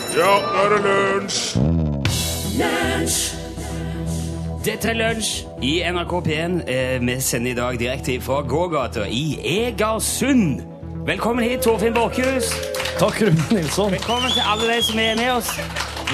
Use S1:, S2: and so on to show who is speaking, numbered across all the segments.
S1: er det lunsj!
S2: Dette er lunsj i NRK P1. Eh, vi sender i dag direkte fra gågata i Egersund. Velkommen hit, Torfinn Borchhus.
S3: Takk, Rune Nilsson.
S2: Velkommen til alle de som er med oss.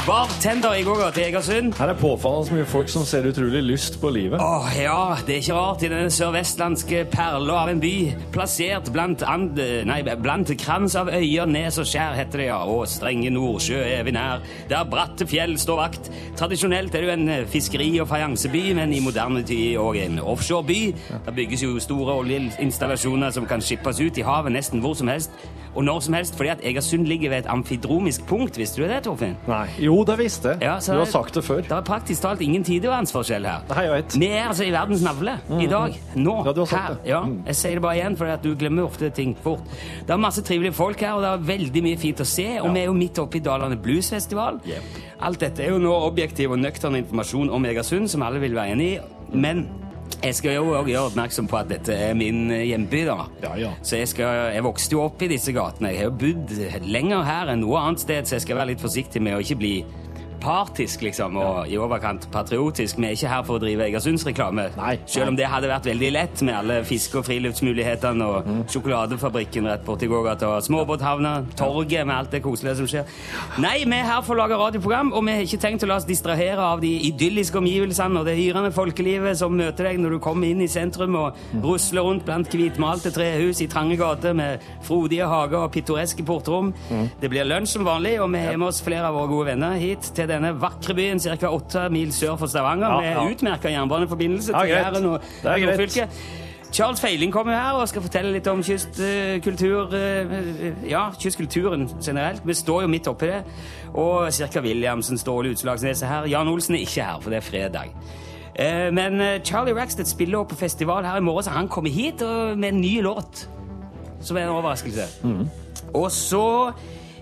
S2: Bartender i gågata i Egersund.
S3: Her er påfallende mye folk som ser utrolig lyst på livet.
S2: Åh, ja, det er ikke rart i denne sørvestlandske perla av en by, plassert blant, and, nei, blant krans av øyer, nes og skjær, heter det, ja, og strenge Nordsjø er vi nær, der bratte fjell står vakt. Tradisjonelt er det jo en eh, fiskeri- og fajanseby, men i moderne tid òg en offshoreby. Der bygges jo store oljeinstallasjoner som kan skippes ut i havet nesten hvor som helst, og når som helst, fordi at Egersund ligger ved et amfidromisk punkt, visste du det, Torfinn?
S3: Nei. Jo, det visste jeg.
S2: Ja, så
S3: du har
S2: det-
S3: sagt det før.
S2: Det er praktisk talt ingen tidevannsforskjell her.
S3: Nei, jeg vet.
S2: Vi er altså i verdens navle i dag. Nå.
S3: Mm, Ja, du har sagt
S2: her.
S3: det. Mm.
S2: Ja, jeg sier det bare igjen, for at du glemmer ofte ting fort. Det er masse trivelige folk her, og det er veldig mye fint å se. Og vi er jo midt oppe i Dalane Bluesfestival.
S3: Yep.
S2: Alt dette er jo nå objektiv og nøktern informasjon om Egersund, som alle vil være enig i. Men jeg skal jo også gjøre oppmerksom på at dette er min eh, hjemby, da.
S3: Ja, ja.
S2: Så jeg, skal, jeg vokste jo opp i disse gatene. Jeg har jo bodd lenger her enn noe annet sted, så jeg skal være litt forsiktig med å ikke bli partisk, liksom, og i overkant patriotisk. Vi er ikke her for å drive Egersundsreklame.
S3: Nei.
S2: Selv om det hadde vært veldig lett med alle fiske- og friluftsmulighetene og
S3: Mm.
S2: sjokoladefabrikken rett borti gågata og småbåthavna, torget med alt det koselige som skjer. Nei, vi er her for å lage radioprogram, og vi har ikke tenkt å la oss distrahere av de idylliske omgivelsene og det hyrende folkelivet som møter deg når du kommer inn i sentrum og
S3: Mm.
S2: rusler rundt blant hvitmalte trehus i trange gater med frodige hager og pittoreske portrom.
S3: Mm.
S2: Det blir lunsj som vanlig, og vi har med oss flere av våre gode venner hit til denne vakre byen ca. åtte mil sør for Stavanger.
S3: Ja,
S2: med
S3: ja.
S2: utmerka jernbaneforbindelse
S3: Ja,
S2: til
S3: greit.
S2: Jæren og
S3: Det er greit.
S2: Nordfylke. Charles Feiling kommer her og skal fortelle litt om kystkultur eh, Ja, kystkulturen generelt. Vi står jo midt oppi det. Og cirka Williamsen, Ståle Utslagsnes er her. Jan Olsen er ikke her, for det er fredag. Eh, Men eh, Charlie Rackstedt spiller også på festival her i morgen, så han kommer hit og- med en ny låt. Som er en overraskelse.
S3: Mm.
S2: Og så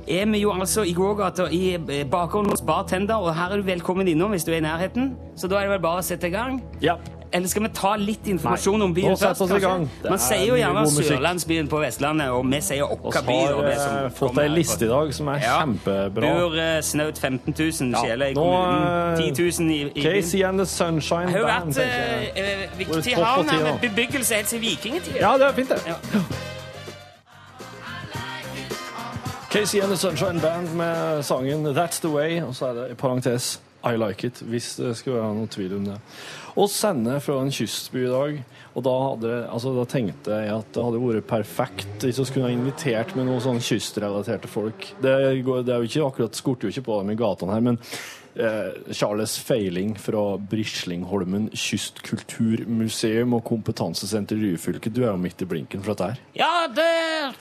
S2: er vi jo altså i gågata i eh, bakgrunnen hos bartender, og her er du velkommen innom hvis du er i nærheten. Så da er det vel bare å sette i gang.
S3: Ja.
S2: Eller skal vi ta litt informasjon
S3: Nei,
S2: om byen
S3: nå setter
S2: først?
S3: vi oss i
S2: kanskje?
S3: gang. Det
S2: Man
S3: er
S2: sier jo
S3: mye
S2: gjerne
S3: god musikk.
S2: Sørlandsbyen på Vestlandet, og vi sier
S3: Vi
S2: Åkka by.
S3: har
S2: og det
S3: eh,
S2: som
S3: fått
S2: kommer
S3: ei
S2: her.
S3: liste i dag som er kjempebra.
S2: Bor eh, snaut 15 000
S3: Ja,
S2: sjeler i
S3: nå,
S2: kommunen.
S3: eh,
S2: 10 000 i, i byen.
S3: Casey and the Sunshine
S2: Det har jo
S3: Band,
S2: vært
S3: tenker jeg.
S2: eh, eh, viktig
S3: Hvor er topp på
S2: havn her
S3: tida?
S2: med bebyggelse helt til vikingtida.
S3: Ja, det er fint, det.
S2: Ja.
S3: Casey and the Sunshine Band med sangen That's The Way, og så er det i parentes I Like It, hvis det skulle være noen tvil om det. Å sende fra en kystby i dag, og da, hadde, altså, da tenkte jeg at det hadde vært perfekt hvis vi skulle ha invitert med noen sånn kystrelaterte folk. Det, går, det er jo ikke akkurat, skorter jo ikke på dem i gatene her, men eh, Charles Feiling fra Brislingholmen kystkulturmuseum og kompetansesenter i Ryfylke, du er jo midt i blinken for dette her.
S2: ja, det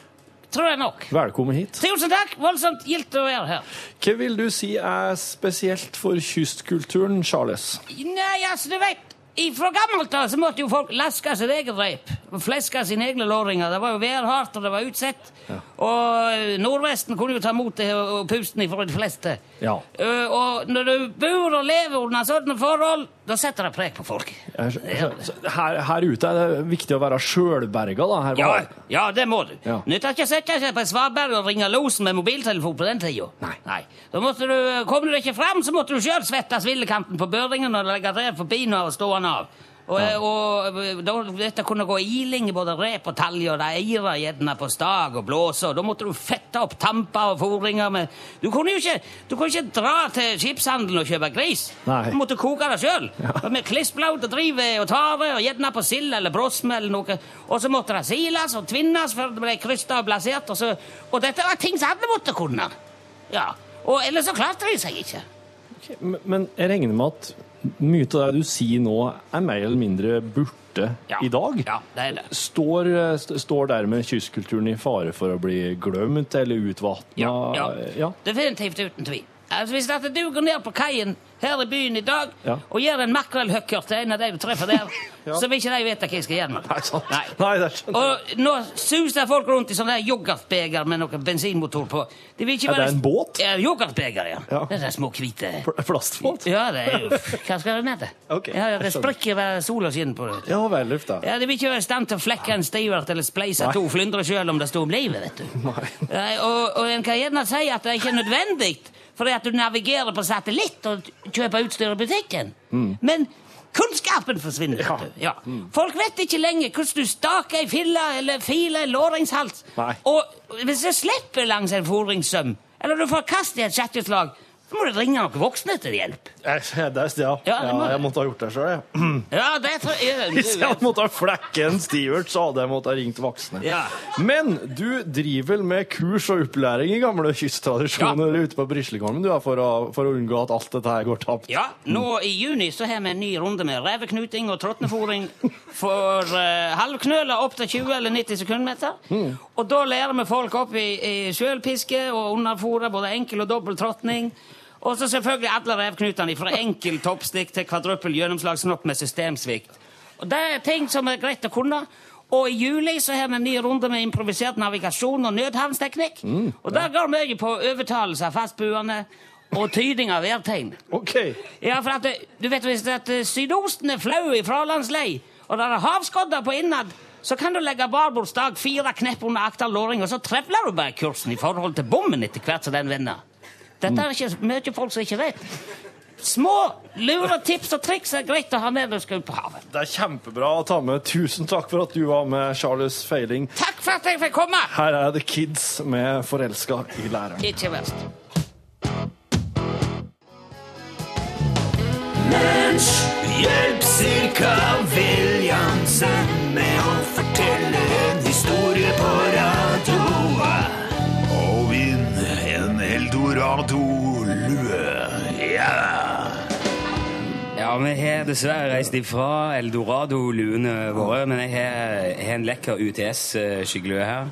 S2: tror jeg nok.
S3: Velkommen hit.
S2: Tusen takk! Voldsomt gildt å være her.
S3: Hva vil du si er spesielt for kystkulturen, Charles?
S2: Nei, altså, du vet Fra gammelt av så måtte jo folk laske sitt eget reip. og Fleske sine egne låringer. Det var jo værhardt, og det var utsett. Og eh, Nordvesten kunne jo ta mot det og og pusten ifra de fleste.
S3: Ja.
S2: Eh, og når du bor og lever under sånne forhold, da setter det preg på folk.
S3: Her, her ute er det viktig å være sjølberga, da. Her
S2: Ja,
S3: var-
S2: ja, det må du.
S3: Ja.
S2: Nytter ikke å sette seg på en svaberg og ringe losen med mobiltelefon på den tida.
S3: Nei.
S2: Da måtte du, Kom du ikke fram, så måtte du sjøl svette svillekanten på børingen og legge rev forbi når stående av. Og, og, da dette kunne gå iling i både rep og talje, og det eira gjerne på stag og blåse, og da måtte du fette opp tamper og fôringer med Du kunne jo ikke, du kunne ikke dra til skipshandelen og kjøpe gris.
S3: Nei.
S2: Du måtte koke det sjøl.
S3: Ja.
S2: Med klissblaut og drive og tare og gjerne på sild eller brosme eller noe. Og så måtte det siles og tvinnes før det ble krysta og blasert. Og, så, og dette var ting som alle måtte kunne. Ja. Og ellers så klarte de seg ikke.
S3: Ok, men- Men jeg regner med at mye av det du sier nå, er mer eller mindre borte
S2: Ja.
S3: i dag?
S2: Ja, det er det.
S3: Står, eh, st- står dermed kystkulturen i fare for å bli glemt eller utvatna?
S2: Ja.
S3: ja.
S2: Definitivt uten tvil. Altså, hvis at du går ned på kaien her i byen i dag
S3: Ja.
S2: og gjør en makrellhøkker til en av de du treffer der,
S3: Ja.
S2: så vil ikke de vite hva jeg skal gjøre med
S3: Nei, sant.
S2: Nei.
S3: Nei, det skjønner
S2: Og
S3: jeg.
S2: nå suser folk rundt i sånne der yoghurtbeger med noe bensinmotor på. De vil ikke
S3: Er det
S2: være-
S3: en båt?
S2: Ja, yoghurtbeger, ja.
S3: Ja.
S2: Det er sånne små hvite
S3: Pl- Plastfat?
S2: Ja, det er jo Hva skal du med det?
S3: Ok,
S2: ja, det
S3: jeg skjønner.
S2: sprekker hver sola skinner på det.
S3: Ja vel, uff da.
S2: Ja, De vil ikke være i stand til å flekke en Stewart eller spleise
S3: Nei.
S2: to flyndre sjøl om det står om livet, vet du.
S3: Nei.
S2: Nei, og, og en kan gjerne si at det er ikke er nødvendig,
S1: fordi at du navigerer på satellitt og kjøper utstyr i butikken. Men kunnskapen forsvinner.
S3: Mm. Ja.
S1: vet du. Ja. Folk vet ikke lenger hvordan du staker ei fille eller filer en lårringshals.
S3: Nei.
S1: Og hvis du slipper langs en fôringssøm, eller du får kast i et kjetteslag, så må du ringe noen voksne til hjelp.
S3: Jeg- Eh, Det er stia.
S1: Ja,
S3: Ja,
S1: det må det.
S3: jeg måtte ha gjort det sjøl, jeg.
S1: Ja, det tror jeg...
S3: Hvis jeg hadde måttet flekke en Stivert, så hadde jeg måttet ha ringt voksne.
S1: Ja.
S3: Men du driver vel med kurs og opplæring i gamle kysttradisjoner ute på Brislekollen, du, er for å, for å unngå at alt dette her går tapt.
S1: Ja, nå i juni så har vi en ny runde med reveknuting og tråtnefòring for uh, halvknøler opp til 20 eller 90 sekundmeter. Og da lærer vi folk opp i, i sjølpiske og underfòre, både enkel og dobbel tråtning. Og så selvfølgelig alle revknutene, fra enkel toppstikk til kvadruppel gjennomslagssnopp med systemsvikt. Og Det er ting som er greit å kunne. Og i juli så har vi en ny runde med improvisert navigasjon og nødhavnsteknikk. Og der går mye på overtalelse av fastboende og tyding av værtegn.
S3: OK.
S1: Ja, for at eh, du vet hvis at eh, sydosten er flau i fralandslei, og der er havskodder på innad, så kan du legge barbords dag fire knepp under akter låring, og så trevler du bare kursen i forhold til bommen etter hvert som den vender. Dette er ikke mye folk som ikke vet. Små lure tips og triks er greit å ha med når du skal ut på havet.
S3: Det er kjempebra å ta med. Tusen takk for at du var med, Charles Feiling.
S1: Takk for at jeg fikk komme!
S3: Her er The Kids med 'Forelska i læreren'.
S1: Ikke verst.
S4: Hjelp cirka Williamsen med å fortelle en historie på radioa. Og vinn en Eldorado-lue. Ja!
S2: Ja, vi har dessverre reist ifra Eldorado-luene våre, men jeg har, jeg har en lekker UTS-skyggelue her.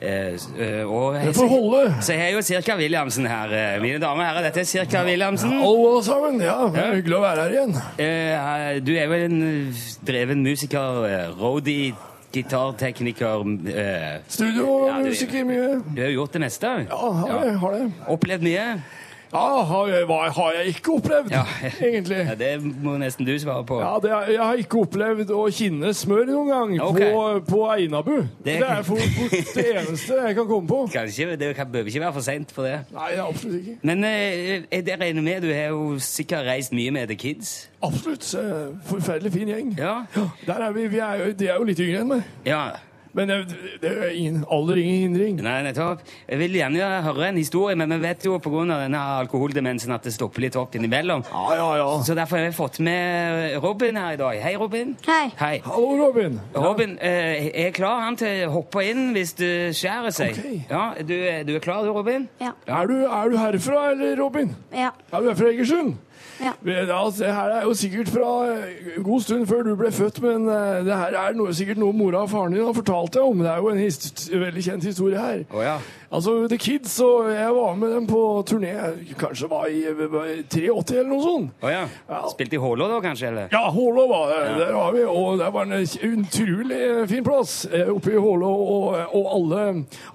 S2: Eh, s- eh, og jeg,
S3: får holde.
S2: Så jeg har jo Cirka Williamsen her. eh, Mine damer og herrer, dette er Cirka Williamsen.
S3: Hallo, sammen. Ja, det er hyggelig å være her igjen.
S2: Eh, du er jo en eh, dreven musiker, eh, roadie, gitartekniker eh,
S3: Studio og
S2: Ja, du- musiker,
S3: mye. Ah,
S2: Du har jo gjort det meste.
S3: har det.
S2: Opplevd mye?
S3: Ja, har jeg, hva har jeg ikke opplevd,
S2: Ja. Ja, det må nesten du svare på.
S3: Ja, det, er- jeg har ikke opplevd å kinne smør noen gang
S2: Ok.
S3: på, på Einabu. Det,
S2: Det-
S3: er for, for det eneste jeg kan komme på.
S2: Kanskje, Det kan- bør ikke være for seint for det.
S3: Nei, det er absolutt ikke.
S2: Men eh, jeg jeg regner med du har jo sikkert reist mye med The Kids?
S3: Absolutt. eh, Forferdelig fin gjeng.
S2: Ja.
S3: Der er vi, vi er, jo- de er jo litt yngre enn meg.
S2: ja.
S3: Men det, det er ingen, aller ingen hindring.
S2: Nei, nettopp. Jeg vil gjerne høre en historie, men vi vet jo pga. denne alkoholdemensen at det stopper litt opp innimellom.
S3: Ja, ja, ja.
S2: Så derfor har jeg fått med Robin her i dag. Hei, Robin.
S5: Hei.
S2: Hei.
S3: Hallo, Robin.
S2: Robin eh, er klar han til å hoppe inn hvis det skjærer seg.
S3: Ok.
S2: Ja, du, er- du er klar du, Robin?
S5: Ja.
S3: Er du, er du herfra, eller, Robin?
S5: Ja.
S3: Ja, du er fra Egersund?
S5: Ja.
S3: Men, altså, det her er jo sikkert fra eh, en god stund før du ble født, men eh, det her er noe, sikkert noe mora og faren din har fortalt deg om. Det er jo en hist veldig kjent historie her.
S2: Å ja.
S3: Altså, The Kids, og jeg var med dem på turné, kanskje var i eh, var i 83 eller noe sånt.
S2: Å ja.
S3: Ja.
S2: Spilte i Hålå da, kanskje? eller?
S3: Ja, Hålå var det. Der var vi, og det var en utrolig eh, fin plass eh, oppe i Hålå, og, og alle,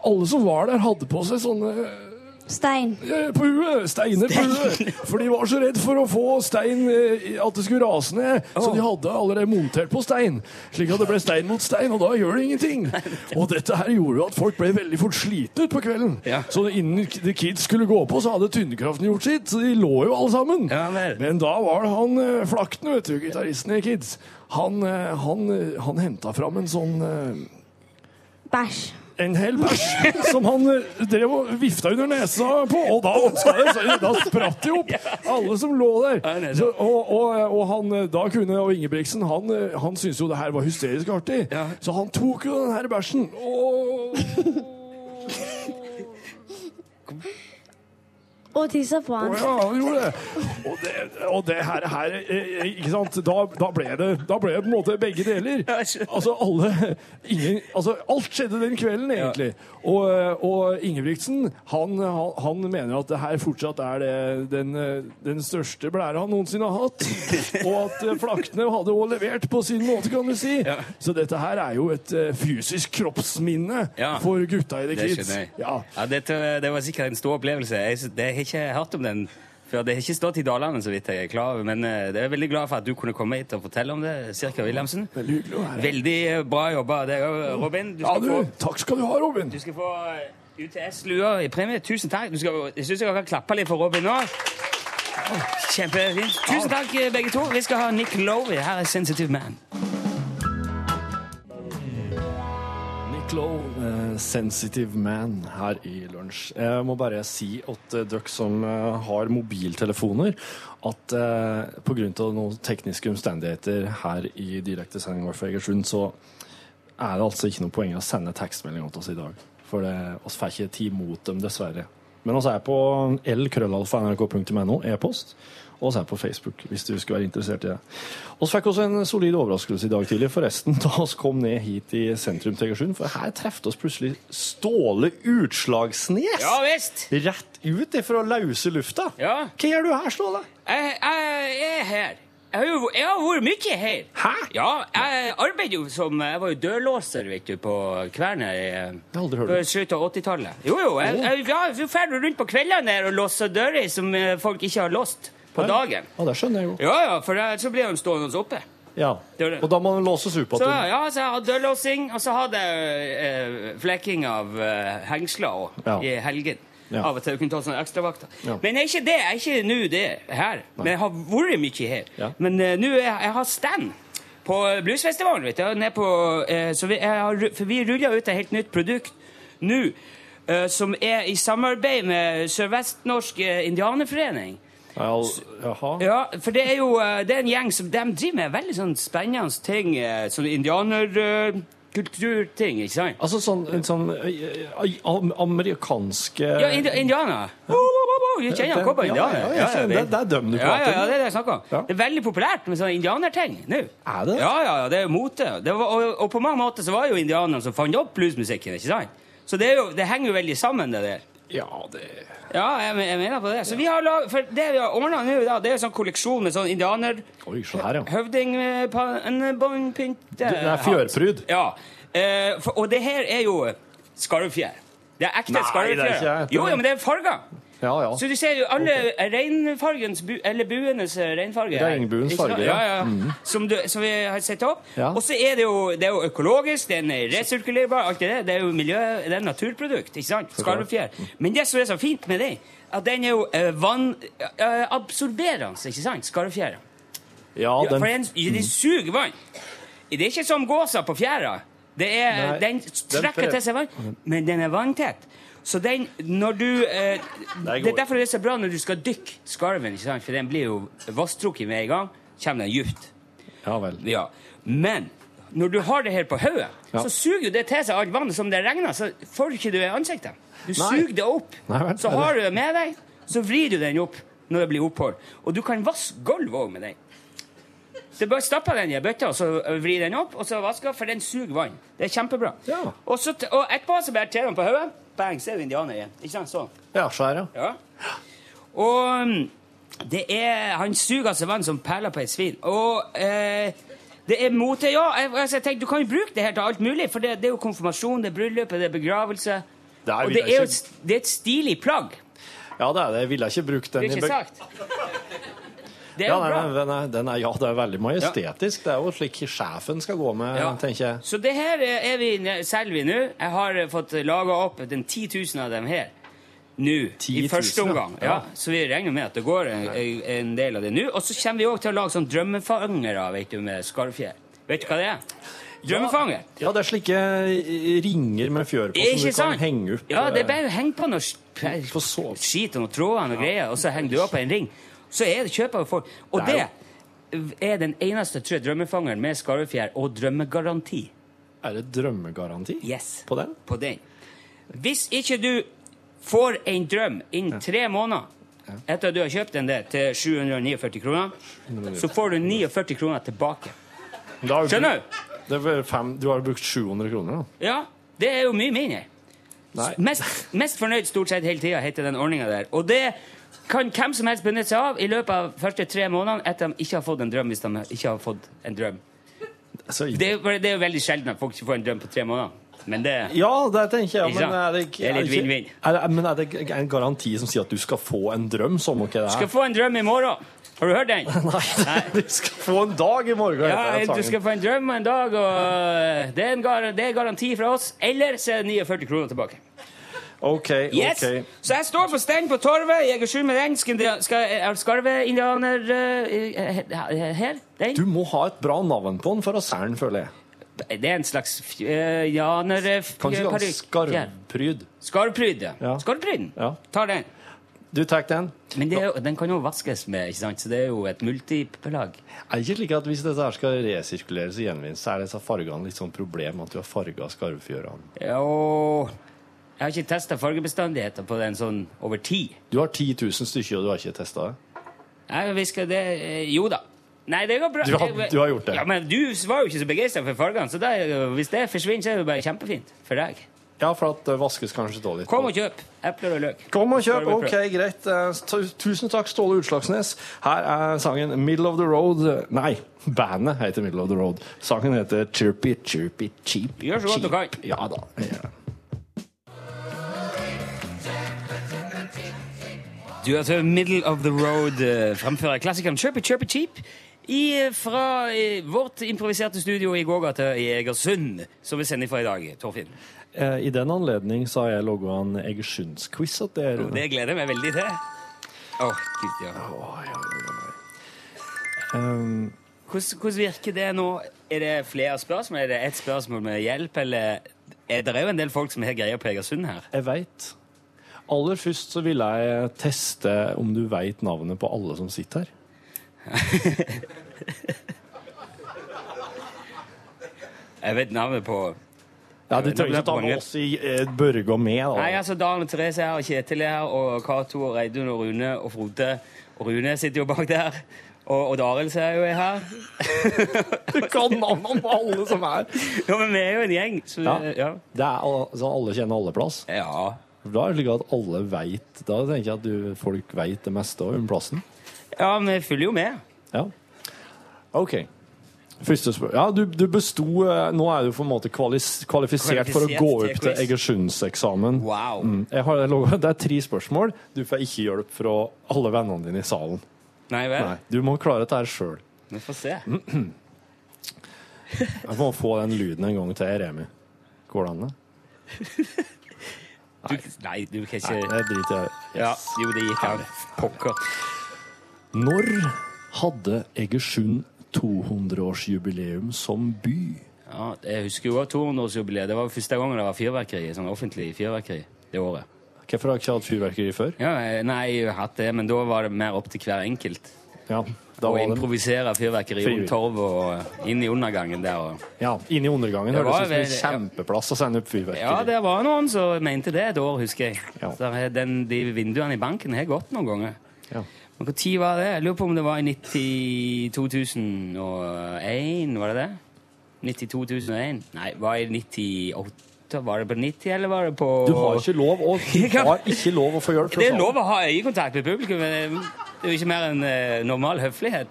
S3: alle som var der hadde på seg sånne
S5: Stein.
S3: Eh, på huet. Steiner på huet. For de var så redd for å få stein eh, at det skulle rase ned. Så de hadde allerede montert på stein, slik at det ble stein mot stein. Og da gjør det ingenting. Og dette her gjorde jo at folk ble veldig fort slitne utpå kvelden.
S2: Ja.
S3: Så innen The Kids skulle gå på, så hadde tyngdekraften gjort sitt. Så de lå jo alle sammen.
S2: Ja vel.
S3: Men da var det han eh, Flakten, vet du, gitaristen i Kids, han, eh, han, eh, han henta fram en sånn eh,
S5: Bæsj.
S3: en hel bæsj som han eh, drev og vifta under nesa på, og da, åpna det seg, da spratt de opp, alle som lå
S2: Ja, det
S3: der.
S2: er
S3: Så,
S2: sant.
S3: og, og, og han eh, da kunne, og Ingebrigtsen, han, eh, han syntes jo det her var hysterisk artig,
S2: Ja.
S3: så han tok jo den her bæsjen og
S5: Og tissa på han.
S3: Å ja, han gjorde det. Og det, og det her, her eh, Ikke sant? Da, da, ble det, da ble det på en måte begge deler.
S2: Ja, jeg skjønner.
S3: Altså alle ingen, altså, Alt skjedde den kvelden, egentlig. Og, eh, og Ingebrigtsen, han, han, han mener at det her fortsatt er det, den, eh, den største blæra han noensinne har hatt. Og at eh, Flakne hadde også levert på sin måte, kan du si.
S2: Ja.
S3: Så dette her er jo et eh, fysisk kroppsminne
S2: Ja.
S3: for gutta i The
S2: Det
S3: Kids.
S2: skjønner jeg.
S3: Ja.
S2: Ja, dette, det var sikkert en stor opplevelse. Jeg, s- det har ikke jeg hørt om den før. Det har ikke stått i Dalane, så vidt jeg er klar over. Men eh, jeg er veldig glad for at du kunne komme hit og fortelle om det, Sirka Wilhelmsen.
S3: Veldig hyggelig å være her.
S2: Veldig eh, bra jobba av deg òg, Robin. Du
S3: Ja,
S2: skal,
S3: du,
S2: få,
S3: takk skal du ha, Robin.
S2: du skal få eh, UTS-lua i premie. Tusen takk. Du skal, jeg syns dere kan klappe litt for Robin nå. Kjempefint. Tusen takk, eh, begge to. Vi skal ha Nick Lowry. Her er Sensitive Man.
S3: Nick Lowe, eh, 'Sensitive Man', her i lunsj. Jeg må bare si at eh, dere som eh, har mobiltelefoner, at eh, på grunn av noen tekniske omstendigheter her i direktesendinga fra Egersund, så er det altså ikke noe poeng å sende tekstmelding til oss i dag. For det, oss får ikke tid mot dem, dessverre. Men oss er på lkrøllalfa.nrk.no, e-post. Og oss er på Facebook, hvis du skulle være interessert i det. Vi fikk også en solid overraskelse i dag tidlig, forresten, da oss kom ned hit i sentrum til Egersund. For her trefte oss plutselig Ståle Utslagsnes!
S2: Ja visst!
S3: Rett ut ifra løse lufta!
S2: Ja.
S3: Hva gjør du her, Ståle?
S2: Jeg, jeg er her. Jeg har, jo, jeg har vært mye her.
S3: Hæ?
S2: Ja, jeg arbeider jo som Jeg var jo dørlåser, vet du, på Kværner. Jeg
S3: har aldri hørt om.
S2: På slutten av 80-tallet. Jo, jo. Jeg, jeg, ja, så drar du rundt på kveldene der og låser dører som eh, folk ikke har låst på dagen.
S3: Ja, det skjønner jeg jo.
S2: Ja, ja, for eh, så blir de stående oppe.
S3: Ja.
S2: Det er det.
S3: Og da må den låses opp
S2: Så
S3: igjen.
S2: ja, så jeg hadde dørlåsing, og så hadde jeg eh, flekking av eh, hengsler også,
S3: Ja.
S2: i helgen.
S3: Ja.
S2: Av og til kunne ta sånne ekstravakter.
S3: Ja.
S2: Men jeg er ikke det, jeg er ikke nå det her. Men jeg har vært mye her.
S3: Ja.
S2: Men eh, nå er jeg, jeg har stand på bluesfestivalen, vet du. og Ned på, eh, så vi, jeg har, ru- for vi ruller ut et helt nytt produkt nå, eh, som er i samarbeid med Sørvestnorsk eh, indianerforening.
S3: Jaha.
S2: Ja, for det er jo eh, det er en gjeng som de driver med veldig sånn spennende ting. eh, Sånn indianerkulturting, ikke sant?
S3: Altså sånn, en sånn eh, eh, am- amerikanske
S2: Ja, indi indianer. Wo, wo, wo, wo. Du kjenner
S3: Den-
S2: hvorfor
S3: Eh, ja,
S2: indianer?
S3: ja, jeg kjenner det. Det er dem du
S2: ja,
S3: prater
S2: ja, ja,
S3: om.
S2: det er det jeg snakker om.
S3: Ja.
S2: Det er veldig populært med sånne indianerting nå.
S3: Er det?
S2: Ja, ja, ja, det er jo mote. Det var, og, og på mange måter så var jo indianerne som fant opp bluesmusikken, ikke sant? Så det, er jo, det henger jo veldig sammen, det der.
S3: Ja, det
S2: Ja, jeg, jeg mener på det. Så vi har lag, for det vi har ordna nå, da, det er jo sånn kolleksjon med sånn indianer...
S3: Oi, se her, ja.
S2: Høvding eh, pa- en båndpynt eh,
S3: Det er fjørpryd.
S2: hatt. Ja. Eh, for, og det her er jo skarvfjær. Det er ekte
S3: Nei,
S2: skarvfjær.
S3: det er ikke det.
S2: Jo, jo, men det er farger.
S3: Ja, ja.
S2: Så du ser jo alle reinfargens, bu, eller buenes eh, reinfarge. her.
S3: Regnbuens
S2: Ikke sant?
S3: farge, ja. Mm.
S2: ja. ja.
S3: Mhm.
S2: Som, du, som vi har sett opp.
S3: Ja.
S2: Og så er det jo, det er jo økologisk, det er en resirkulerbar, alt det der. Det er jo miljø, det er naturprodukt, ikke sant?
S3: klart.
S2: Skarvfjær. Men det som er så fint med det, at den er jo eh, vannabsorberende, ikke sant? Skarvfjæra.
S3: Ja,
S2: Ja, for den,
S3: den,
S2: ja, den suger vann. Det er ikke som gåsa på fjæra. Det er,
S3: Nei,
S2: den trekker
S3: pre-
S2: til seg vann, men den er vanntett. Så den, når du eh,
S3: Nei,
S2: Det er
S3: går.
S2: derfor det er så bra når du skal dykke skarven, ikke sant? for den blir jo vasstrukket med en gang. Kommer den dypt.
S3: ja vel.
S2: Ja. Men når du har det her på hodet,
S3: Ja.
S2: så suger jo det til seg alt vannet som det regner, så får ikke du i ansiktet. Du
S3: Nei.
S2: suger det opp.
S3: Nei vel,
S2: så
S3: er det-
S2: har du det med deg, så vrir du den opp når det blir opphold. Og du kan vaske gulvet òg med den. Du bare stapper den i ei bøtte, og så ø, vrir den opp, og så vasker, for den suger vann. Det er kjempebra.
S3: Ja.
S2: Og, så, t- og etterpå så bare ter den på hodet. Bang, så er du indianer igjen. Ikke sant? Sånn.
S3: Ja, se her, ja.
S2: Ja. Og um, det er Han suger altså vann som perler på et svin. Og eh, det er mote. Ja, jeg, altså, jeg tenkte, du kan jo bruke det her til alt mulig, for det, det er jo konfirmasjon, det er bryllup, det er begravelse.
S3: Det er-
S2: og det er jo et, s- det er et stilig plagg.
S3: Ja, det er det. Jeg ville ikke brukt den.
S2: Det er
S3: i
S2: ikke
S3: bøk-
S2: sagt. Det er
S3: Ja,
S2: jo
S3: nei,
S2: bra.
S3: nei, den er, den er, ja, det er veldig majestetisk. Det er jo slik sjefen skal gå med,
S2: Ja.
S3: tenker jeg.
S2: Så det her eh, er vi, n- selger vi nå. Jeg har eh, fått laga opp den 10 000 av dem her. Nå,
S3: 10
S2: i
S3: 000,
S2: første
S3: ja.
S2: omgang. Ja.
S3: Ja.
S2: Så vi regner med at det går en, en del av det nå. Og så kommer vi òg til å lage sånn drømmefangere vet du, med skarvfjær. Vet du hva det er? Drømmefanger.
S3: Ja, det er slike eh, ringer med fjør på som
S2: Ikke
S3: du kan
S2: sant?
S3: henge opp.
S2: Ja, det er
S3: eh,
S2: bare å henge på noe sk-
S3: På sov.
S2: skit og noen tråder og noe greier, og så henger du opp på en ring. Så er det kjøper folk. Og
S3: Det
S2: det
S3: er
S2: er den eneste tror jeg, drømmefangeren med skarvfjær og drømmegaranti.
S3: Er det drømmegaranti
S2: Yes.
S3: på den?
S2: på den. Hvis ikke du får en drøm innen tre måneder etter at du har kjøpt den der til 749 kroner, så får du 49 kroner tilbake.
S3: Da har du-
S2: Skjønner du?
S3: Det er vel fem, du har jo brukt 700 kroner, da.
S2: Ja, det er jo mye mindre.
S3: Nei.
S2: Mest, mest fornøyd stort sett hele tida heter den ordninga der. Og det kan hvem som helst benytte seg av i løpet av første tre månedene etter at de ikke har fått en drøm. hvis de ikke har fått en drøm.
S3: Så,
S2: Det er, jo bare- det er jo veldig sjelden at folk ikke får en drøm på tre måneder. Men det
S3: ja, det tenker jeg.
S2: Ikke
S3: Men
S2: sant?
S3: er det, ikke-
S2: Det er litt
S3: ikke-
S2: vinn-vinn.
S3: Er det- Men er det ikke en garanti som sier at du skal få en drøm? Som ikke det er.
S2: skal få en drøm i morgen. Har du hørt den?
S3: Nei, du skal få en dag i morgen. heter den
S2: Ja, du
S3: sangen.
S2: skal få en drøm en eh, dag, og det er, en gar det er garanti fra oss. Eller så er det 49 kroner tilbake.
S3: OK.
S2: Yes!
S3: ok.
S2: Så jeg står på stand på torvet, jeger sju med den, skindia- ska- eh, skarve-indianer eh, eh, Her. Den.
S3: Du må ha et bra navn på den for å selge den, føler jeg.
S2: Det er en slags fj- eh, janer... eh, f-
S3: Kanskje
S2: parykk.
S3: ganske
S2: Ja.
S3: skarvpryd.
S2: Skarvpryd, ja.
S3: Ja.
S2: Skarvpryden.
S3: Ja.
S2: Ta den.
S3: Du tar den.
S2: Men det er, jo- den kan jo vaskes med, ikke sant? Så det er jo et multipelag.
S3: Er det ikke slik at hvis dette her skal resirkuleres og gjenvinnes, så er disse fargene litt sånn problem at du har farga skarvfjørene?
S2: Og jeg har ikke testa fargebestandigheter på den sånn over tid.
S3: Du har 10 000 stykker, og du har ikke testa det?
S2: Jeg visker det eh, Jo da. Nei, det går bra.
S3: Du har- du har gjort det.
S2: Ja, Men du var jo ikke så begeistra for fargene, så da, hvis det forsvinner, så er det jo bare kjempefint for deg.
S3: Ja, for at det vaskes kanskje da litt.
S2: Kom og kjøp epler og løk.
S3: Kom og kjøp!
S2: Skal vi
S3: Ok,
S2: prøve?
S3: greit. Eh, tu- Tusen takk, Ståle Utslagsnes. Her er sangen 'Middle of the Road'. Nei, bandet heter 'Middle of the Road'. Sangen heter 'Chirpy Chirpy Cheap'.
S2: Gjør så godt du
S3: cheap».
S2: kan.
S3: Ja da. Ja.
S2: Du hørte Middle of the Road eh, fremføre klassikeren Chirpy Chirpy Cheap i, eh, fra eh, vårt improviserte studio i gågata i Egersund, som vi sender fra i dag, Torfinn.
S3: Eh, I den anledning så har jeg logga en Egersundsquiz. at det er-
S2: Det gleder jeg meg veldig til. Åh, gud, ja.
S3: Um,
S2: Hvordan, hvordan virker det nå? Er det flere spørsmål? Er det ett spørsmål med hjelp, eller er det jo en del folk som har greier på Egersund her?
S3: Jeg veit. Aller først så vil jeg teste om du veit navnet på alle som sitter her.
S2: Jeg vet navnet på
S3: Ja,
S2: Jeg
S3: Du
S2: vet
S3: trenger
S2: navnet
S3: ikke ta
S2: på mange.
S3: med oss i eh, Børge og meg. da.
S2: Nei, altså, Dan og Therese er her, og Kjetil er her, og Cato og Reidun og Rune og Frode. Og Rune sitter jo bak der. Og, og Daril ser jeg jo er her.
S3: Du kan navnene på alle som er
S2: Ja, men vi er jo en gjeng, så
S3: Ja.
S2: ja.
S3: Det er al- sånn alle kjenner alle plass.
S2: ja.
S3: Da er det slik at alle vet Da tenker jeg at du, folk vet det meste om plassen.
S2: Ja, men vi følger jo med.
S3: Ja. OK. Første spørsmål Ja, du, du besto eh, Nå er du på en måte kvalis, kvalifisert, for å
S2: Kvalifisert
S3: gå
S2: til
S3: opp til
S2: quiz.
S3: Egersundseksamen.
S2: Wow.
S3: Mm. Jeg har, det er tre spørsmål. Du får ikke hjelp fra alle vennene dine i salen.
S2: Nei vel?
S3: Nei, Mm. Du må klare dette her sjøl.
S2: Vi får se.
S3: Jeg må få den lyden en gang til, Remi. Går det an? det?
S2: Du, nei, du kan ikke
S3: Nei, det driter jeg i.
S2: ja, Jo, det gikk an. Pokker.
S3: Når hadde Egersund 200-årsjubileum som by?
S2: Ja, jeg husker jo også 200-årsjubileet. Det var jo første gangen det var fyrverkeri. Sånn offentlig fyrverkeri det året.
S3: Hvorfor har jeg ikke hatt fyrverkeri før?
S2: Ja, eh, nei, jeg har hatt det, men da var det mer opp til hver enkelt.
S3: Ja, da
S2: Å
S3: var det
S2: improvisere fyrverkeri
S3: Frivillig.
S2: rundt torv og eh, inn i undergangen der. Og.
S3: ja, Inni undergangen
S2: Det
S3: høres
S2: var
S3: ut som en
S2: vel-
S3: kjempeplass å sende opp fyrverkeri.
S2: Ja, det var noen som mente det et år, husker jeg.
S3: Ja.
S2: Så har den, de vinduene i banken har gått noen ganger.
S3: Ja.
S2: Men hvor tid var det? Jeg lurer på om det var i 90 2001, var det det? 92 2001? Nei, var det i 98? Var det på 90, eller var det på
S3: Du har ikke lov å,
S2: Jeg
S3: du
S2: kan-
S3: har ikke lov å få hjelp. fra
S2: Det er
S3: salen.
S2: lov å ha øyekontakt med publikum, men det er jo ikke mer enn eh, normal høflighet.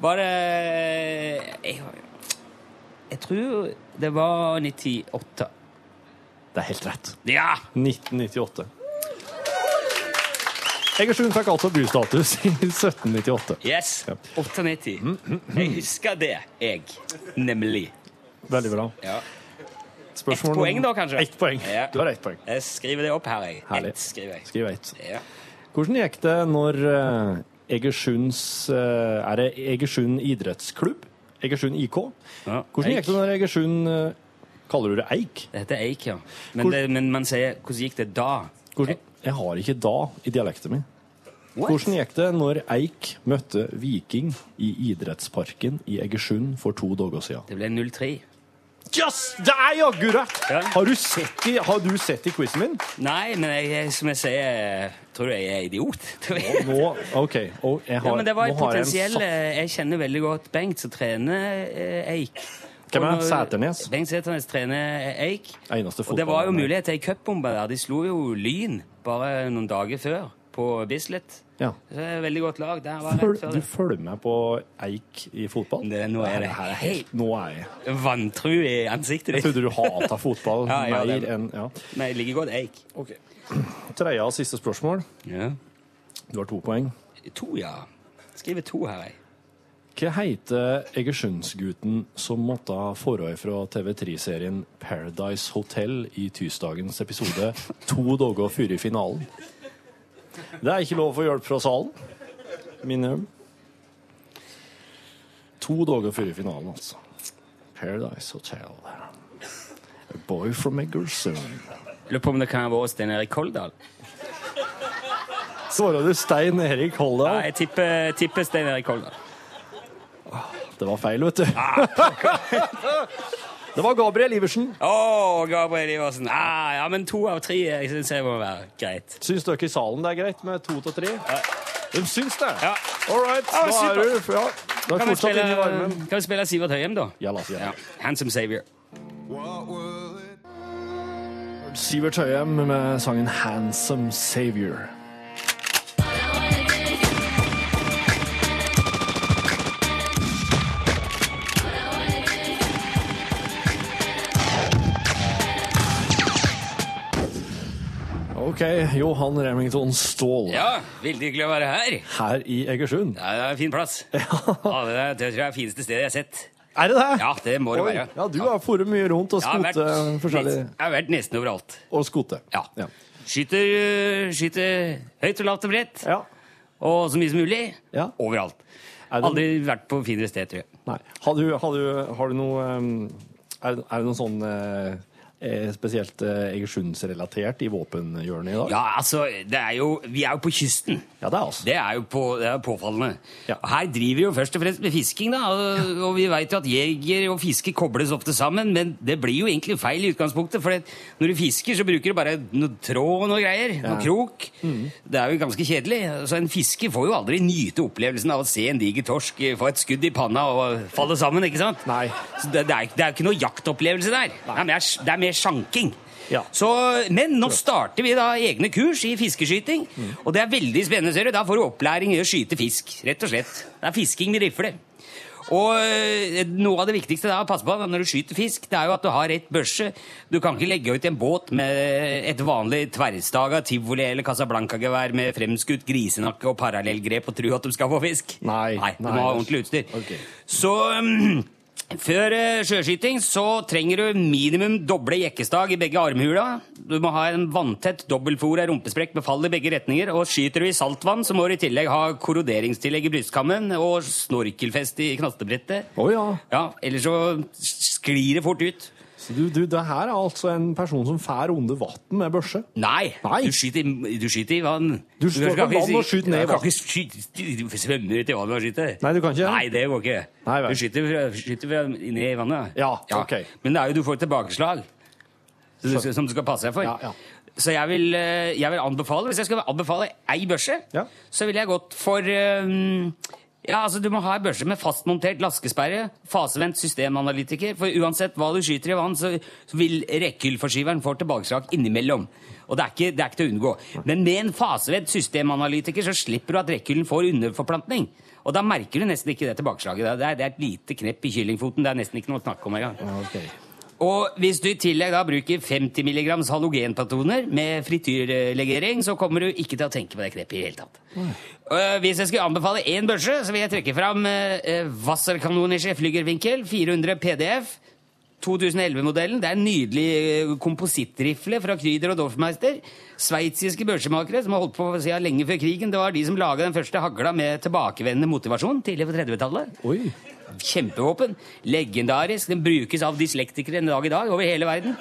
S2: Var det eh, jeg, jeg tror det var 98.
S3: Det er helt rett.
S2: Ja!
S3: 1998. Egersund fikk altså bystatus i 1798.
S2: Yes!
S3: Ja. Mm,
S2: 98. Jeg husker det, jeg. Nemlig.
S3: Veldig bra.
S2: Ja.
S3: Spørsmål
S2: Ett poeng da,
S3: nummer-
S2: kanskje?
S3: Ett poeng.
S2: Ja.
S3: Du har ett poeng.
S2: Jeg skriver det opp her, jeg.
S3: Herlig.
S2: Ett skriver jeg.
S3: Skriv ett.
S2: Ja.
S3: Hvordan gikk det når eh, Egersunds eh, Er det Egersund idrettsklubb? Egersund IK?
S2: Ja,
S3: Hvordan
S2: Eik.
S3: gikk det når Egersund eh, Kaller du det Eik?
S2: Det heter Eik, ja. Men,
S3: Hvor-
S2: det, men man sier Hvordan gikk det da?
S3: Hvordan, jeg har ikke da i dialekten min. Hvordan gikk det når Eik møtte Viking i idrettsparken i Egersund for to dager siden?
S2: Det ble 03.
S3: Yes! Det er jaggu rett!
S2: Ja.
S3: Har du sett i, har du sett i quizen min?
S2: Nei, men jeg, som jeg sier, tror du jeg er idiot? Tror jeg.
S3: Nå, OK. Og jeg har,
S2: Ja, men det var et
S3: nå har jeg en
S2: potensiell
S3: satt-
S2: eh, Jeg kjenner veldig godt Bengt, som trener eh, Eik.
S3: Hvem er
S2: Og når-
S3: Sæternes?
S2: Bengt Sæternes trener eh, Eik.
S3: Eneste
S2: Og det var jo
S3: fotballmannen.
S2: mulighet til ei cupbombe der. De slo jo Lyn bare noen dager før, på Bislett.
S3: Ja.
S2: Så det er et veldig godt lag. Der var jeg rett
S3: Føl,
S2: før
S3: du
S2: det.
S3: følger med på Eik i fotball?
S2: Det- nå er det
S3: her er helt Nå er jeg
S2: Vantru i ansiktet
S3: Jeg
S2: ditt.
S3: trodde du hata fotball
S2: Ja, jeg gjør
S3: mer
S2: det.
S3: enn ja.
S2: Men jeg liker godt Eik.
S3: Tredje og siste spørsmål.
S2: Ja.
S3: Du har to poeng.
S2: To, ja. Skriver to her, jeg.
S3: Hva heter Egersundsgutten som måtte ha forhold fra TV3-serien Paradise Hotel i tirsdagens episode to dager før i finalen? Det er ikke lov å få hjelp fra salen. Minner om. To dager før i finalen, altså. Paradise Hotel. A boy from Egersund.
S2: Lurer på om det kan ha vært Stein Erik Koldal.
S3: Svarer du Stein Erik
S2: Ja,
S3: Holdal?
S2: jeg tipper, tipper Stein Erik Koldal.
S3: Det var feil, vet du. Det var Gabriel Iversen.
S2: Å, Gabriel Iversen. Ah, ja, men to av tre jeg syns jeg må være greit.
S3: Syns dere i salen det er greit med to til tre? De syns det.
S2: Ja.
S3: All right,
S2: Ja,
S3: da er
S2: super.
S3: du ja, Da er
S2: Kan vi
S3: fortsatt
S2: spille,
S3: inne i varmen.
S2: kan vi spille Sivert Høyem, da?
S3: Ja, la oss gjøre det.
S2: Handsome Savior.
S3: Sivert Høyem med sangen 'Handsome Savior'. Ok, Johan Remington Ståhl
S2: Ja, veldig glad å være her.
S3: her i Egersund.
S2: Ja, det er en fin plass. Ja, det, er, det tror jeg er det fineste stedet jeg har sett.
S3: Er det det?
S2: Ja, det må det
S3: Oi,
S2: være.
S3: Ja, du har foret mye rundt og
S2: Jeg har, vært,
S3: skote forskjellig.
S2: jeg har vært nesten overalt.
S3: Og skote.
S2: Ja. Skyter, øh, skyter høyt og lavt og bredt,
S3: Ja.
S2: og så mye som mulig.
S3: Ja.
S2: Overalt.
S3: Er det-
S2: Aldri vært på finere sted, tror jeg.
S3: Nei. Har du, har du, har du noe um, Er, er det noe sånn eh, eh, spesielt eh, Egersundsrelatert i våpenhjørnet i dag?
S2: Ja, altså, det er jo, vi er jo på kysten.
S3: det er altså.
S2: Det er jo på, det er påfallende.
S3: Ja.
S2: Her driver vi jo først og fremst med fisking, da. Og, og vi veit jo at jeger og fiske kobles ofte sammen, men det blir jo egentlig feil i utgangspunktet. For det- når du fisker, så bruker du bare noe tråd og noe greier. Noe krok.
S3: Mm.
S2: Det er jo ganske kjedelig. Så en fisker får jo aldri nyte opplevelsen av å se en diger torsk eh, få et skudd i panna og falle sammen, ikke sant?
S3: Nei.
S2: Så det, det er jo det er jo ikke noe jaktopplevelse der. Det er mer, det er mer sjanking.
S3: Ja.
S2: Så, men nå starter vi da egne kurs i fiskeskyting.
S3: Mm.
S2: Og det er veldig spennende. ser du. Da får du opplæring i å skyte fisk. rett og slett. Det er fisking med rifle. Og eh, noe av det viktigste da, pass på da, når du skyter fisk, det er jo at du har rett børse. Du kan ikke legge ut en båt med et vanlig tverrstaga tivoli eller Casablanca-gevær med fremskutt grisenakke og parallellgrep og tro at de skal få fisk.
S3: Nei,
S2: du
S3: nei.
S2: må ha ordentlig utstyr.
S3: Ok.
S2: Så um, før eh, sjøskyting så trenger du minimum doble jekkestag i begge armhula. Du må ha en vanntett dobbeltfora rumpesprekk med fall i begge retninger. Og skyter du i saltvann, så må du i tillegg ha korroderingstillegg i brystkammen og snorkelfest i knastebrettet.
S3: Å ja.
S2: Ja, ellers så sklir det fort ut.
S3: Så du, du, det her er altså en person som fær under vann med børse?
S2: Nei,
S3: Nei.
S2: Du, skyter, i- du skyter i vann.
S3: Du står
S2: skal
S3: på
S2: ikke
S3: vann
S2: si-
S3: og skyter ned i
S2: Du kan ikke skyte, du svømmer ut i vannet og skyter.
S3: Nei, du kan ikke.
S2: Nei, det går ikke.
S3: Nei, vel.
S2: du skyter, fra- skyter fra- ned i vannet.
S3: Ja, ok.
S2: Men det er jo du får tilbakeslag så du skal, som du skal passe deg for.
S3: Ja, ja.
S2: Så jeg vil, eh, jeg vil anbefale, hvis jeg skal anbefale ei børse,
S3: Ja.
S2: så ville jeg gått for eh, ja, altså Du må ha ei børse med fastmontert laskesperre, fasevendt systemanalytiker, for uansett hva du skyter i vann, så så vil rekkehyllforskyveren få tilbakeslag innimellom. Og det er, ikke, det er ikke til å unngå. Men med en fasevendt systemanalytiker så slipper du at rekkehyllen får underforplantning. Og da merker du nesten ikke det tilbakeslaget. Det er, det er et lite knepp i kyllingfoten. Det er nesten ikke noe å snakke om engang. Og hvis du i tillegg da bruker 50 mg halogenpatroner med frityrlegering, så kommer du ikke til å tenke på det knepet i det hele tatt. Øh, hvis jeg skulle anbefale én børse, så vil jeg trekke fram uh, Wasserkanonische Flygerwinkel 400 PDF. 2011-modellen. Det er en nydelig eh, komposittrifle fra Kryder og Dorfmeister. Sveitsiske børsemakere som har holdt på siden lenge før krigen. Det var de som laga den første hagla med tilbakevendende motivasjon tidlig på 30-tallet.
S3: Oi.
S2: Kjempevåpen. Legendarisk. Den brukes av dyslektikere en dag i dag over hele verden.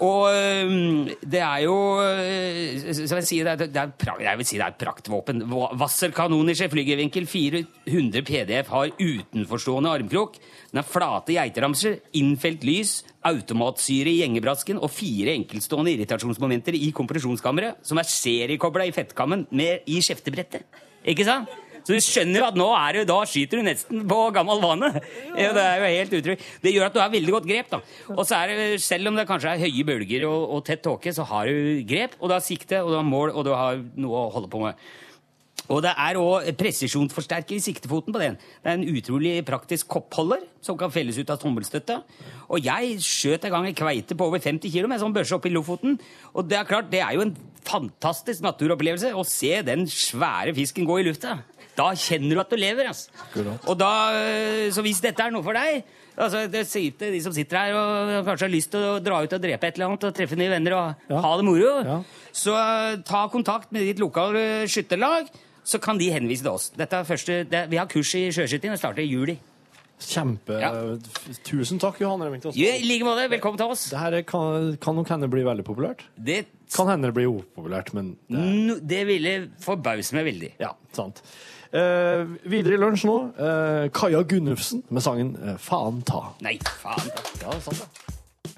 S2: Og øhm, det er jo øh, Som jeg sier, det er, det er, pra- jeg vil si det er et praktvåpen. Wa- Wasserkanonische Flygerwinkel 400 PDF har utenforstående armkrok. Den har flate geiteramser, innfelt lys, automatsyre i gjengebrasken og fire enkeltstående irritasjonsmomenter i kompresjonskammeret, som er seriekobla i fettkammen med, i kjeftebrettet. Ikke sant? Så du skjønner at nå er du, da skyter du nesten på gammel vane. Ja, det er jo helt utrolig. Det gjør at du har veldig godt grep. da. Og så er det, Selv om det kanskje er høye bølger og, og tett tåke, så har du grep, og du har sikte, og du har mål, og du har noe å holde på med. Og det er òg presisjonsforsterker i siktefoten på den. Det er en utrolig praktisk koppholder som kan felles ut av tommelstøtte. Og jeg skjøt en gang en kveite på over 50 kg med en sånn børse oppe i Lofoten. Og det er klart, det er jo en fantastisk naturopplevelse å se den svære fisken gå i lufta. Da kjenner du at du lever. ass.
S3: Akkurat.
S2: Og da, eh, Så hvis dette er noe for deg altså det sier til De som sitter her og kanskje har lyst til å dra ut og drepe et eller annet og treffe nye venner og
S3: Ja.
S2: ha det moro,
S3: Ja.
S2: så eh, ta kontakt med ditt lokale skytterlag, så kan de henvise til oss. Dette er første, det, vi har kurs i sjøskyting. Det starter i juli.
S3: Kjempe...
S2: Ja.
S3: f- Tusen takk, Johan Remington.
S2: I like måte. Velkommen til oss.
S3: Det her er- kan, kan nok hende bli veldig populært.
S2: Det,
S3: Kan hende det blir upopulært, men det er,
S2: no, det ville forbause meg veldig.
S3: Ja, sant. Eh, videre i lunsj nå, eh, Kaja Gunnufsen med sangen eh, Faen ta.
S2: Nei, faen.
S3: Ja, det er sant, det.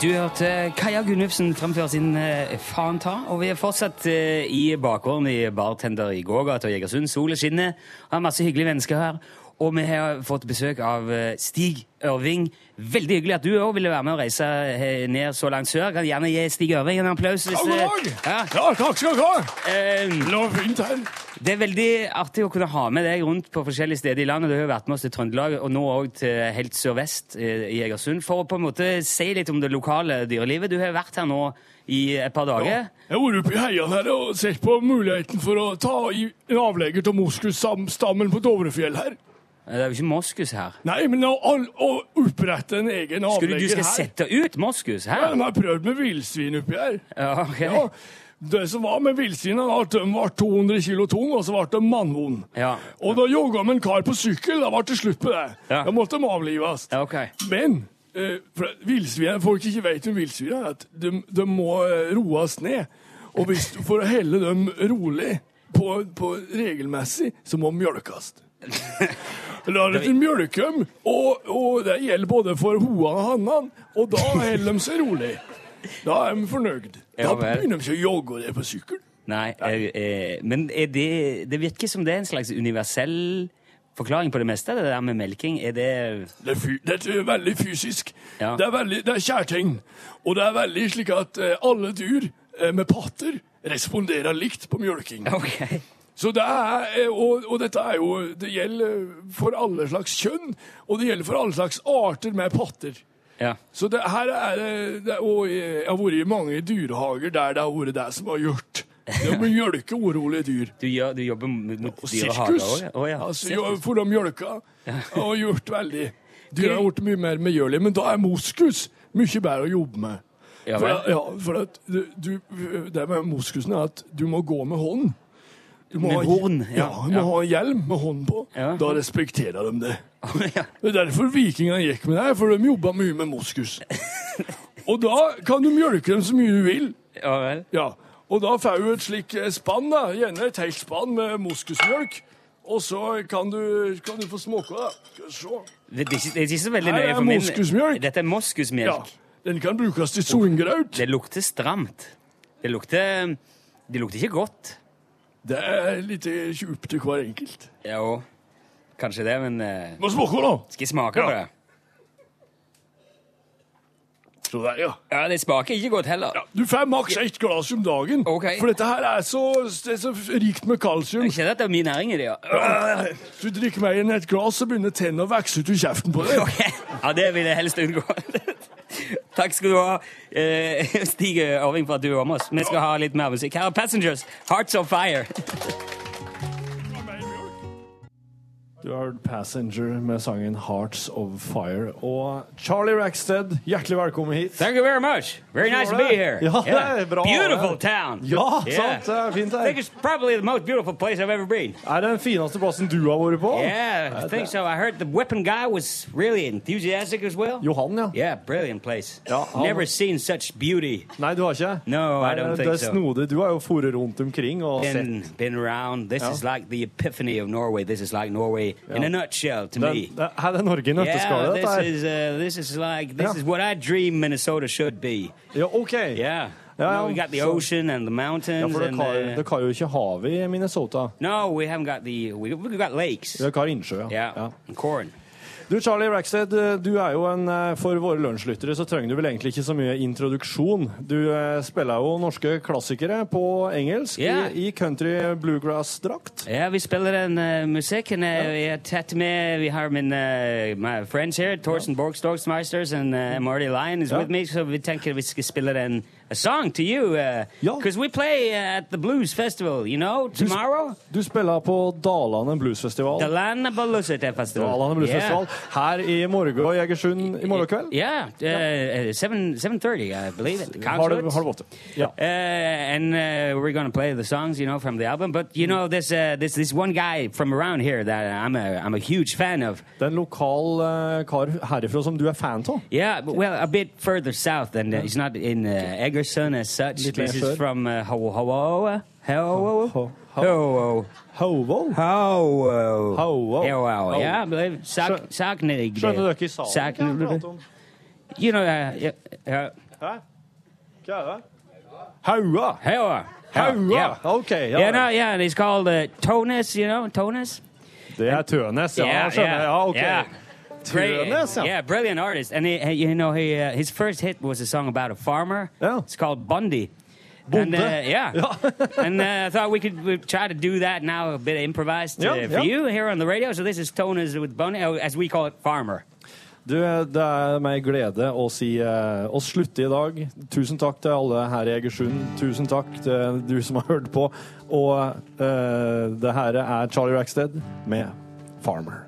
S2: Du hørte Kaja Gunnufsen fremføre sin eh, Faen ta, og vi er fortsatt eh, i bakgården i Bartender i Gågata og Jegersund. Solen skinner, og har masse hyggelige mennesker her. Og vi har fått besøk av eh, Stig Ørving. Veldig hyggelig at du òg ville være med og reise eh, ned så langt sør. Kan gjerne gi Stig Ørving en applaus. hvis, eh, ja.
S3: takk skal du ha!
S2: Eh,
S3: Fint her.
S2: Det er veldig artig å kunne ha med deg rundt på forskjellige steder i landet. Du har jo vært med oss til Trøndelag, og nå òg til helt sørvest eh, i Egersund. For å på en måte si litt om det lokale dyrelivet. Du har vært her nå i et par dager.
S6: Jeg har vært oppe i heiene her og sett på muligheten for å ta i en avlegger til moskusstammen på Dovrefjell her.
S2: Eh, Det er jo ikke moskus her.
S6: Nei, men å, all- å opprette en egen
S2: Skulle
S6: avlegger
S2: du skal
S6: her
S2: sette ut moskus
S6: Ja,
S2: her?
S6: De har prøvd med villsvin oppi her.
S2: Ja, ok.
S6: Ja, det som var med villsvinene, var at de var 200 kilo tung, og så ble de mannvond.
S2: Ja.
S6: Og da jogga de en kar på sykkel. Da ble det slutt på det.
S2: Ja.
S6: Da måtte de avlives.
S2: Ja, ok.
S6: Men eh, for at villsvin, folk ikke vet om villsvin, er at de, de må eh, roes ned. Og hvis, for å helle dem rolig på, på regelmessig, så må de mjølkes. La dem til mjølke dem, og, og det gjelder både for hoa og hannan. Og da holder de seg rolig. Da er de fornøyd. Da
S2: Ja, vel.
S6: begynner de ikke å jogge det på sykkel.
S2: Nei, eh, eh, men er det, det virker som det er en slags universell forklaring på det meste, det der med melking. Er det
S6: Det er, fy, det er veldig fysisk.
S2: Ja.
S6: Det er veldig, det er kjærtegn. Og det er veldig slik at eh, alle dyr eh, med patter responderer likt på mjølking.
S2: Ok.
S6: Så det er, eh, og, og dette er jo, det gjelder for alle slags kjønn, og det gjelder for alle slags arter med patter.
S2: Ja.
S6: Så det her er det, det er- Og eh, jeg har vært i mange dyrehager der det har vært det som har gjort. Det å mjølke urolige dyr.
S2: Du, gjør, du jobber mot
S6: Og
S2: dyr og hager
S6: sirkus.
S2: òg? Ja. Å, ja.
S6: Altså, jo, for de mjølka har gjort veldig Dyra har gjort mye mer medgjørlig, men da er moskus mye bedre å jobbe med.
S2: Ja,
S6: for,
S2: vel.
S6: ja, for at du, du, det med moskusen er at du må gå med hånd. Du må
S2: Med horn,
S6: Ja,
S2: ja.
S6: du må
S2: Ja.
S6: ha hjelm med hånd på.
S2: Ja. Ah,
S6: Da respekterer de det.
S2: ja.
S6: Det er derfor vikingene gikk med det, for de jobba mye med moskus. Og da kan du mjølke dem så mye du vil.
S2: ja vel.
S6: Ja, og da får du et slik eh, spann, da. Gjerne et helt spann med moskusmjølk. Og så kan du, kan du få småke, da. Skal vi se.
S2: Det er ikke, det er ikke så veldig
S6: Her
S2: nøye
S6: er
S2: for min
S6: moskusmjølk.
S2: Dette er
S6: Ja.
S2: moskusmjølk.
S6: Den kan brukes til solgraut.
S2: Det lukter stramt. Det lukter Det lukter ikke godt.
S6: Det er litt eh, ikke opp til hver enkelt.
S2: Ja, og kanskje det, men eh,
S6: Må småke, da.
S2: Skal jeg smake på
S6: Ja.
S2: det?
S6: Så der, ja.
S2: Ja, det smaker ikke godt heller.
S6: ja. Du får maks ett glass om dagen.
S2: Ok.
S6: For dette her er så, det er så rikt med kalsium.
S2: Jeg kjenner at det er mye næring i det. Ja.
S6: Hvis du drikker mer enn ett glass, så begynner tennene å vokse ut i kjeften på deg.
S2: Ok. ja, det vil jeg helst unngå. Takk skal du ha, eh, Stig Ørving, for at du var med oss. Vi skal ha litt mer musikk. Her er Passengers, Hearts of Fire.
S3: Du har hørt Passenger med sangen Hearts of Fire. Og Charlie Rackstead, hjertelig velkommen hit.
S2: Thank you very much. Very nice to be here.
S3: Ja, det er bra.
S2: Beautiful town.
S3: Ja,
S2: Yeah.
S3: sant? Det er fint
S2: I think
S3: her.
S2: it's probably the most beautiful place I've ever been.
S3: Er det den fineste plassen du har vært på?
S2: Yeah, I think so. I heard the whipping guy was really enthusiastic as well.
S3: Johan, ja.
S2: Yeah, brilliant place.
S3: Ja, han-
S2: Never seen such beauty.
S3: Nei, du har ikke?
S2: No, I
S3: Nei,
S2: don't
S3: det
S2: think
S3: er
S2: so.
S3: snodig. Du har jo foret rundt omkring og sett
S2: Been, been around. This
S3: Ja.
S2: is like the epiphany of Norway. This is like Norway in a nutshell to
S3: det,
S2: me.
S3: det, Her er Norge i
S2: Yeah,
S3: nøtteskallet, dette
S2: this
S3: her.
S2: is uh, this is like this
S3: Yeah.
S2: is what I dream Minnesota should be.
S3: Ja, OK.
S2: Yeah,
S3: Yeah,
S2: you know, we got the
S3: so-
S2: ocean and the mountains.
S3: Ja, for dere
S2: and,
S3: har,
S2: uh,
S3: dere har jo ikke havet i Minnesota.
S2: no, we haven't got the we, we've got lakes.
S3: Dere har innsjø,
S2: Yeah,
S3: ja.
S2: and corn.
S3: Du, Charlie Rackstead, du er jo en eh, For våre lunsjlyttere så trenger du vel egentlig ikke så mye introduksjon. Du eh, spiller jo norske klassikere på engelsk
S2: Ja.
S3: i, i country bluegrass-drakt.
S2: Ja, vi spiller den eh, musikken. eh, Vi er tett med Vi har min eh, my friends her, Torsten Borgstogsmeisters and eh, Marty Lyon is
S3: Mm. Ja.
S2: with me, så vi tenker vi skal spille den a song to you.
S3: Ja.
S2: Because we play eh, at the Blues Festival, you know,
S3: sp-
S2: tomorrow.
S3: Du spiller på Dalane Bluesfestival.
S2: Dalane Ballusete Festival.
S3: Dalane Bluesfestival her i morgen og Jegersund i morgen kveld.
S2: Yeah, yeah uh, 7, 7.30, I believe it.
S3: Har du,
S2: Concerts.
S3: har du gått til? Ja.
S2: Uh, and uh, we're gonna play the songs, you know, from the album. But you know, this uh, this this one guy from around here that I'm a I'm a huge fan of.
S3: Det er en lokal eh, kar herifra som du er fan av.
S2: Yeah, but, well, a bit further south than uh, he's not in uh, Egerton as such.
S3: Little
S2: This
S3: effort.
S2: is from uh, Ho Ho Ho Ho
S3: Ho-
S2: Ho
S3: Hovo.
S2: Ho
S3: Ho- Ho.
S2: Ho Yeah, I believe
S3: Skjø-
S2: Sak Saknig.
S3: Skjønner dere ikke salen?
S2: Sak
S3: Hva er det jeg prater om?
S2: You know, uh, yeah, uh,
S3: Hæ? Hva er det? Haua.
S2: Haua.
S3: Haua.
S2: Yeah.
S3: Ok. Ja.
S2: Yeah, no, yeah, and he's called uh, Tonus, you know, Tonus.
S3: Det er Tønes, ja. skjønner jeg. Ja, ok. Tønes, ja.
S2: yeah, brilliant artist. And he, he- you know, he, uh, his first hit was a song about a farmer.
S3: Yeah.
S2: It's called Bundy.
S3: Bonde.
S2: And, uh, yeah.
S3: Ja.
S2: and uh, I thought we could we try to do that now, a bit improvised uh,
S3: Yeah,
S2: for
S3: yeah.
S2: you here on the radio. So this is Tonus with Bundy, uh, as we call it, Farmer.
S3: Du, det er meg glede å si eh, å slutte i dag. Tusen takk til alle her i Egersund. Tusen takk til du som har hørt på. Og eh, det her er Charlie Rackstead med 'Farmer'.